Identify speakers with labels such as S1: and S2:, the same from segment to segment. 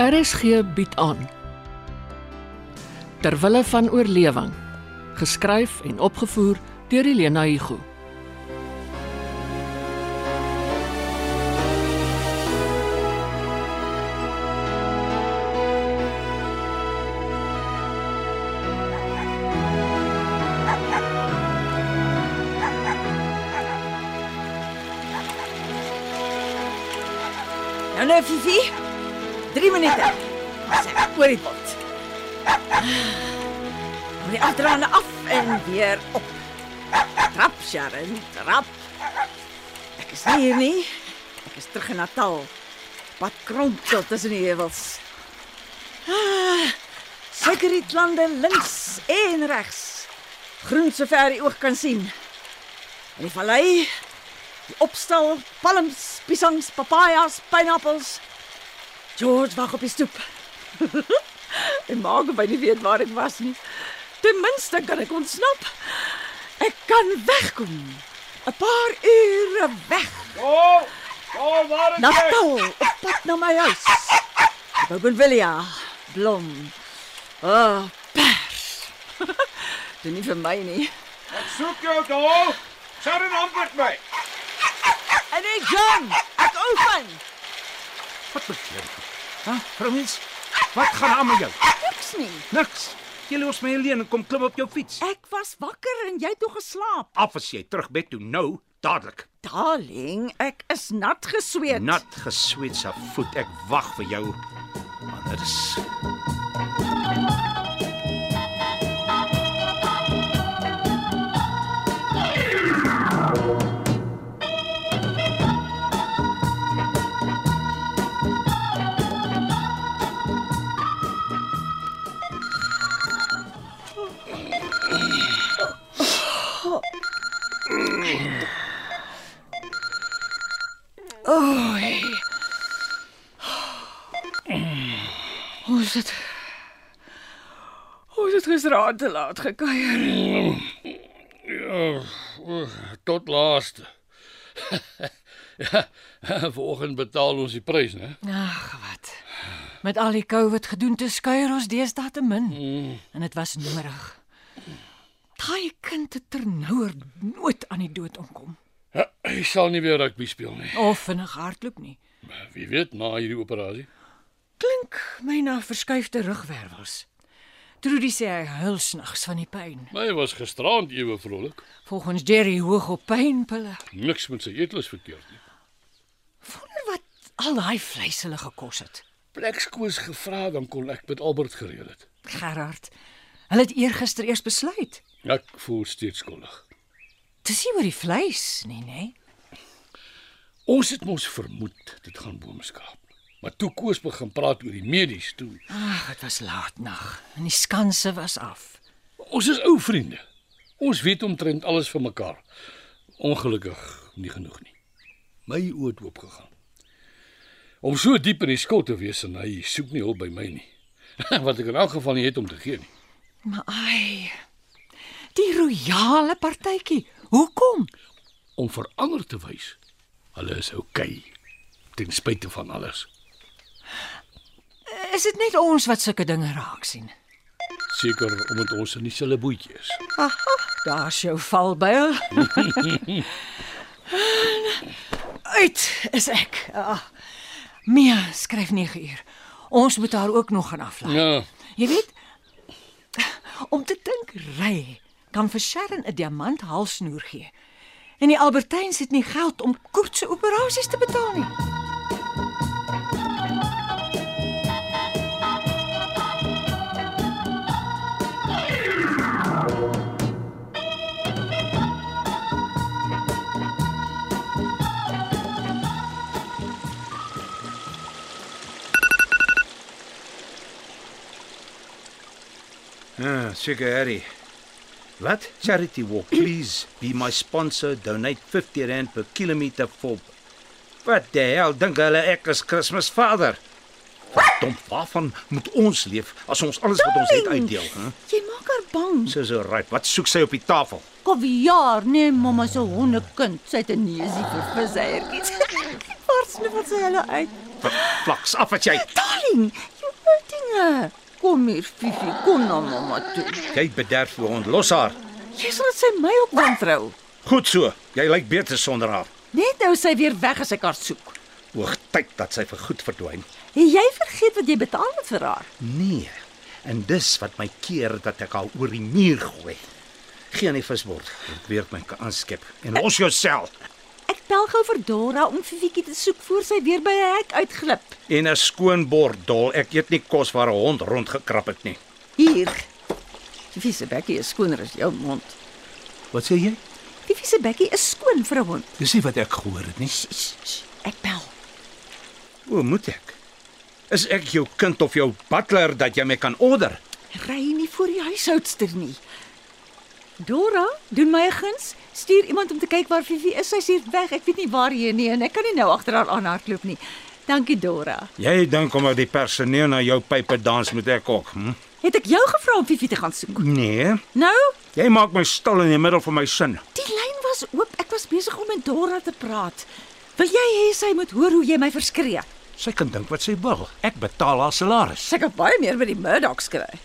S1: RSG bied aan Terwille van oorlewing geskryf en opgevoer deur Elena Igu
S2: Nou nou Fifi. 3 minute. Sy oor die pot. Moet die afdraande af en weer op. Trap Sharon, trap. Ek is nie hier nie. Ek is terug in Natal. Wat kronkel tussen die heuwels. Ah, Suikerrietlande links en regs. Groen sover die oog kan sien. In die vallei Die opstal, palms, piesangs, papajas, pineappels. George wag op die stoep. en maak by nie weet waar ek was nie. Ten minste kan ek ontsnap. Ek kan wegkom. 'n Paar ure weg.
S3: Kom! Kom, waar is jy?
S2: Natal, op pad na my huis. Bougainvillea, blom. Ah, oh, pers. Dit nie vir my nie.
S3: Ek soek jou daar. Sharon antwoord my.
S2: En ek jong, ek oefen.
S4: Wat beteken dit? Hæ? Prins, wat gaan er aan met jou?
S2: Niks nie.
S4: Niks. Jy los my alleen en kom klim op jou fiets.
S2: Ek was wakker en jy het toe geslaap.
S4: Af as jy terug bed toe nou, dadelik.
S2: Darling, ek is nat gesweet.
S4: Nat gesweet se voet. Ek wag vir jou. Anders.
S2: Oei. Hoe is dit? Hoe is dit gisteraand te laat gekuier?
S5: Tot laaste. ja, vanoggend betaal ons die prys, né?
S6: Ag, wat. Met al die COVID gedoen te skuier ons deesdae te min. En dit was nodig. Daai kind het ternouer nooit aan die dood omkom
S5: Ja, hy sal nie weer rugby speel nie.
S6: of vinnig hardloop nie.
S5: Wie weet na hierdie operasie.
S6: Klink my na verskuifde rugwervels. Trudy sê hy huil snags van die pyn.
S5: Maar hy was gisterand ewe vrolik.
S6: Volgens Jerry hoog op pynpille.
S5: Niks met sy eetlus verkeerd nie.
S6: Wonder wat al daai vleis hulle gekos het.
S5: Plekskoos gevra dan kon ek met Albert gereël het.
S6: Gerard, hulle het eergister eers besluit.
S5: Ek voel steeds skuldig.
S6: Dis nie oor die vleis nie, nê? Nee.
S5: Ons het mos vermoed dit gaan boomskaap. Maar toe Koos begin praat oor die medies toe.
S6: Ag, Ah, dit was laat nag en die skanse was af.
S5: Ons is ou vriende. Ons weet omtrent alles van mekaar. Ongelukkig nie genoeg nie. My oë het oop gegaan. Om so diep in die skuld te wees en hy soek nie hulp by my nie. Wat ek in elk geval nie het om te gee nie.
S6: Maar ai. Die royale partytjie. Hoekom?
S5: Om vir ander te wys hulle is oukei okay, ten spyte van alles.
S6: Is dit net ons wat sulke dinge raak sien?
S5: Seker omdat ons in dieselfde bootjie is.
S6: Daar's jou valbuil. Uit is ek. Ah, Mia skryf 9 uur. Ons moet haar ook nog gaan aflaai.
S5: Ja,
S6: Jy weet om te dink ry kan vir Sharon 'n diamant halsnoer gee. En die Albertyns het nie geld om Koert se operasies te betaal nie.
S4: Ja, seker Harry. Wat? Charity walk, please be my sponsor. Donate R50 per kilometer fob. Wat die hel dink hulle ek is Kersvader? Verdomp, waarvan moet ons leef as ons alles wat ons het
S2: Darling!
S4: uitdeel, hè?
S2: Jy maak haar bang.
S4: Sy is right. Wat soek sy op die tafel?
S2: Kaviaar, nee mamma se hondekind, sy het 'n neusie vir viseiertjies. Haar sniffel sy hulle uit.
S4: Plaks af wat jy.
S2: Darling, you hurting her. Kom hier, Fifi, kom na mamma toe.
S4: Jy bederf die hond. Los haar.
S2: Jy sal sy my ook wantrou.
S4: Goed so. Jy lyk beter sonder haar.
S2: Net nou is sy weer weg as ek haar soek.
S4: Hoog tyd dat sy vir goed verdwyn.
S2: Het jy vergeet wat jy betaal het vir haar?
S4: Nee. En dis wat my keer dat ek haar oor die muur gooi. Gee aan die visbord. Ek weer my kan aanskep en los jouself.
S2: Ek bel gou vir Dora om vir Fifi te soek voor sy weer by 'n hek uitglip.
S4: En 'n skoon bord dol. Ek eet nie kos waar 'n hond rondgekrap het nie.
S2: Hier. Fifi se bekkie is skoner as jou mond.
S4: Wat sê jy?
S2: Fifi se bekkie is skoon vir 'n hond.
S4: Dis nie wat ek gehoor het nie.
S2: Sst, sst, sst, Ek bel.
S4: O, moet ek? Is ek jou kind of jou butler dat jy my kan order?
S2: Ry nie voor die huishoudster nie. Dora, doen my 'n guns, stuur iemand om te kyk waar Fifi is. Sy's hier weg. Ek weet nie waarheen nie en ek kan nie nou agter haar aanhardloop nie. Dankie Dora.
S4: Jy dink omdat die personeel na jou pype dans moet ek ook, hm?
S2: Het ek jou gevra om Fifi te gaan soek?
S4: Nee,
S2: Nou,
S4: jy maak my stil in die middel van my sin.
S2: die lyn was oop. Ek was besig om met Dora te praat. Wil jy hê sy moet hoor hoe jy my verskree?
S4: Sy kan dink wat sy wil. Ek betaal haar salaris.
S2: Sy kan baie meer by die Murdochs kry.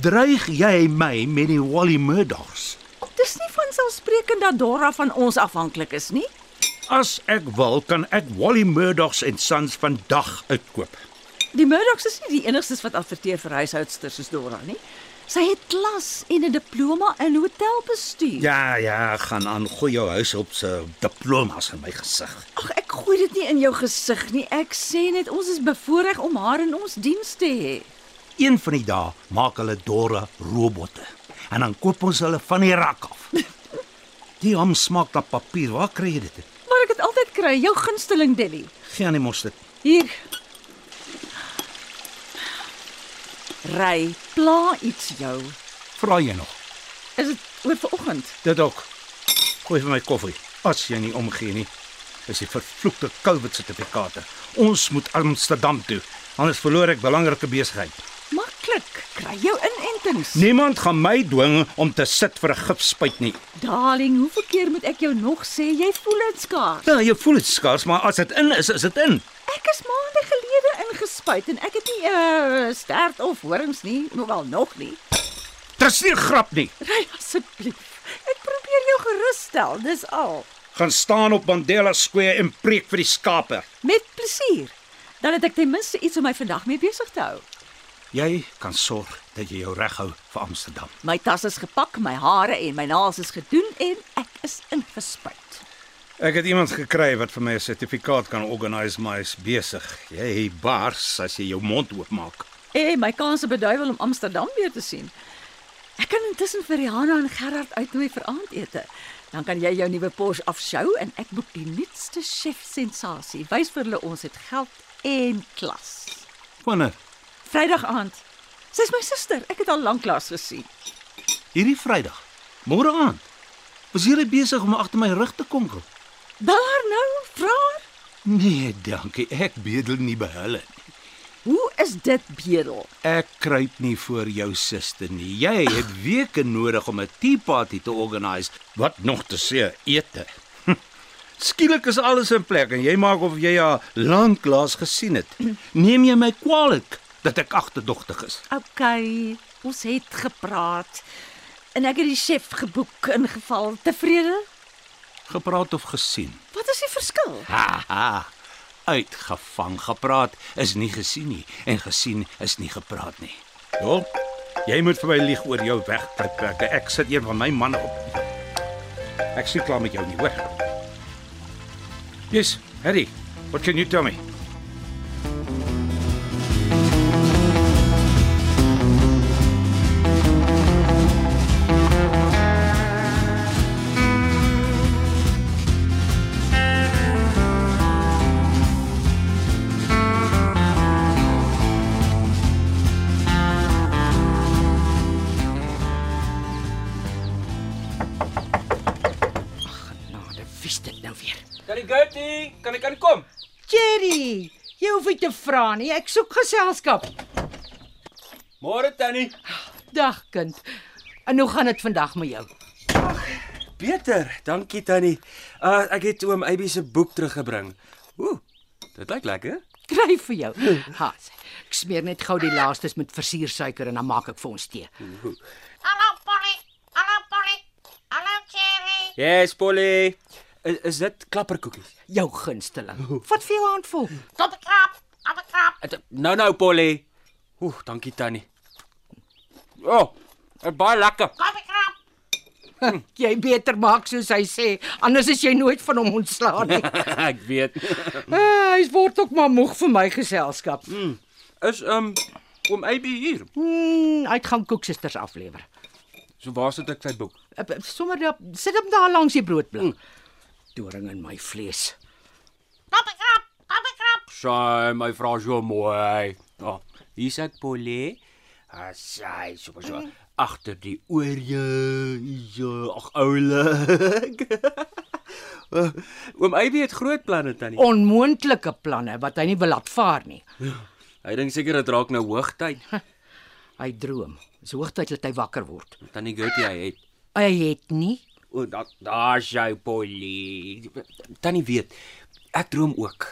S4: Dreig jy my met die Wally Murdochs?
S2: Dis nie van selfsprekend dat Dora van ons afhanklik is nie.
S4: As ek wil, kan ek Wally Murdochs en Sons vandag uitkoop.
S2: Die Murdochs is nie die enigstes wat adverteer vir huishoudsters soos Dora nie. Sy het klas en 'n diploma in hotelbestuur.
S4: Ja, ja, gaan aan gooi jou huishulp se diplomas in my gesig.
S2: Ag, ek gooi dit nie in jou gesig nie. Ek sê net ons is bevoordeel om haar in ons diens te hê.
S4: Een van die dae maak hulle dorre robotte en dan koop ons hulle van die rak af. Die hom smaak na papier. Waar kry jy dit?
S2: Maar ek het altyd kry jou gunsteling Delly.
S4: Gee aan die mos dit.
S2: Hier. Ry, pla iets jou.
S4: Vra jy nog?
S2: Is dit oor vanoggend?
S4: Dit ook. Gooi vir my koffie as jy nie omgee nie. Dis die vervloekte COVID sertifikate. Ons moet Amsterdam toe, anders verloor ek belangrike besigheid.
S2: Maklik. Kry jou inentings.
S4: Niemand gaan my dwing om te sit vir 'n gipspuit nie.
S2: Darling, hoeveel keer moet ek jou nog sê jy voel dit skaars?
S4: Nou, jy voel dit skaars, maar as dit in is, is dit in.
S2: Ek is maande gelede ingespuit en ek het nie 'n uh, stert of horings nie, hoewel nog nie.
S4: Dis nie 'n grap nie.
S2: Ry asseblief. Ek probeer jou gerus stel, dis al.
S4: Gaan staan op Mandela Square en preek vir die skape.
S2: Met plesier. Dan het ek ten minste iets om my vandag mee besig te hou.
S4: Jy kan sorg dat jy jou reg hou vir Amsterdam.
S2: My tas is gepak, my hare en my naels is gedoen en ek is ingespuit.
S4: Ek het iemand gekry wat vir my 'n sertifikaat kan organise, maar is besig. Jy bars as jy jou mond oopmaak.
S2: En my kanse beduiwel om Amsterdam weer te sien. Ek kan intussen vir Rihanna en Gerard uitnooi vir aandete. Dan kan jy jou nuwe Porsche afsjou en ek boek die nuutste chef sensasie. Wys vir hulle ons het geld en klas.
S4: Wanneer?
S2: Vrydag aand. Sy's my suster. Ek het al lank klas gesien.
S4: Hierdie Vrydag. Môre aand. Was jy besig om agter my rug te konkel?
S2: Bel haar nou, vra haar.
S4: Nee, dankie. Ek bedel nie by hulle nie.
S2: Hoe is dit bedel?
S4: Ek kruip nie voor jou suster nie. Jy het weke nodig om 'n tea party te organise. Wat nog te sê, ete. Hm. Skielik is alles in plek en jy maak of jy haar lanklaas gesien het. Neem jy my kwaadlik dat ek agterdogtig is?
S2: OK, ons het gepraat. En ek het die chef geboek in geval tevrede.
S4: Gepraat of gesien?
S2: Wat is die verskil?
S4: Haha. Uitgevang gepraat is nie gesien nie en gesien is nie gepraat nie. Dol, jy moet vir my lieg oor jou wegkruipplekke. Ek sit een van my manne op. Ek sien klaar met jou nie, hoor. Yes, Harry. What can you tell me?
S6: Nou, dit wys dit nou weer.
S3: Kan ek goutie? Kan ek aankom?
S7: Jerry, jy hoef nie te vra nie. Ek soek geselskap.
S3: Môre tannie.
S7: Dag kind. En hoe gaan dit vandag met jou?
S8: Ah,
S3: Beter, dankie tannie. Uh ek het oom Abby se boek teruggebring. Ooh.
S8: Dit lyk lekker.
S9: Kry vir jou. Haas. Ek smeer net gou die laastes met versiersuiker en dan maak ek vir ons tee.
S10: Hallo Polly. Hallo Polly. Hallo Jerry.
S8: Yes, Polly. Is, is dit klapperkoekies?
S9: Jou gunsteling. Wat vir jou handvol?
S10: Tot die krap. Aan die krap.
S8: Het- Nou nou, Polly. Oeh, dankie tannie. O, oh, dit baie lekker.
S10: Tot die krap.
S9: Jy beter maak soos hy sê, anders is jy nooit van hom ontslae nie.
S8: ek weet.
S9: Ah, hy word ook maar moeg vir my geselskap.
S8: Is ehm um, oom AB hier.
S9: Hmm, hy gaan koeksisters aflewer.
S8: So waar sit ek sy boek?
S9: Op- op- Sommer daar sit hom daar langs die broodblik. Doring in my vlees.
S10: Tot die krap. Tot die krap.
S8: Sy, my vrou so mooi. Ja, oh, hier's ek Polly. Ah, sy, so so agter die oorje, ja, ag oulik. Eh, Oom Aby het groot planne tannie.
S9: Onmoontlike planne wat hy nie wil laat vaar nie.
S8: Hy dink seker dit raak nou hoogtyd.
S9: Hy droom. Dis hoogtyd dat hy wakker word.
S8: Tannie Gertie hy het.
S9: Hy het nie.
S8: O, da- daar sy Polly. Tannie weet, ek droom ook.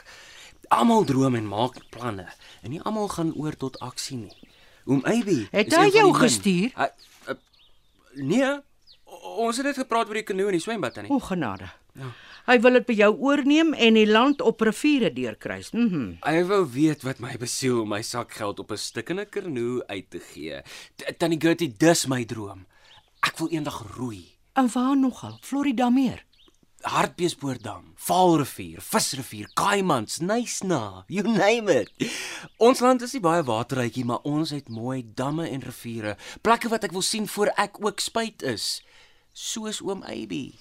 S8: Almal droom en maak planne en nie almal gaan oor tot aksie nie. Oom Aby,
S9: Het
S8: is
S9: hy
S8: een van
S9: jou
S8: die min.
S9: gestuur?
S8: Hy- eh, Nee. o- Ons het net gepraat oor die kanoe en die swembad tannie.
S9: O genade. Ja. Hy wil dit by jou oorneem en die land op riviere deurkruis. Mhm. Mm
S8: Hy wou weet wat my besiel om my sakgeld op 'n stikkende kanoe uit te gee. T- Tannie Gertie, dis my droom. Ek wil eendag roei.
S9: en waar nogal? Florida meer.
S8: Hartbeespoortdam, Vaalrivier, Visrivier, Kaimans, Nysna, you name it. Ons land is nie baie waterrykie, maar ons het mooi damme en riviere, plekke wat ek wil sien voor ek ook spyt is, soos oom Aby.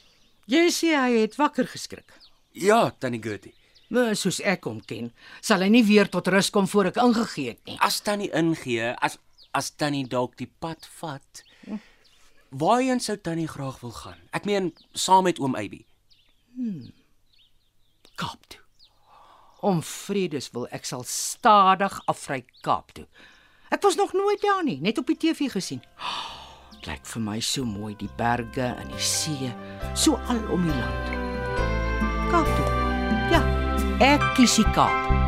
S9: Jy sê hy het wakker geskrik.
S8: Ja, tannie Gertie.
S9: Maar soos ek hom ken, sal hy nie weer tot rus kom voor ek ingegee het nie.
S8: As tannie ingee, as as tannie dalk die pad vat, waarheen sou tannie graag wil gaan? Ek meen saam met oom Aby.
S9: Kaap toe. Om vredes wil ek sal stadig afry Kaap toe. Ek was nog nooit daar nie, net op die TV gesien. Dit lyk vir my so mooi, die berge en die see, so al om die land. Kaap toe. Ja, ek kies die Kaap.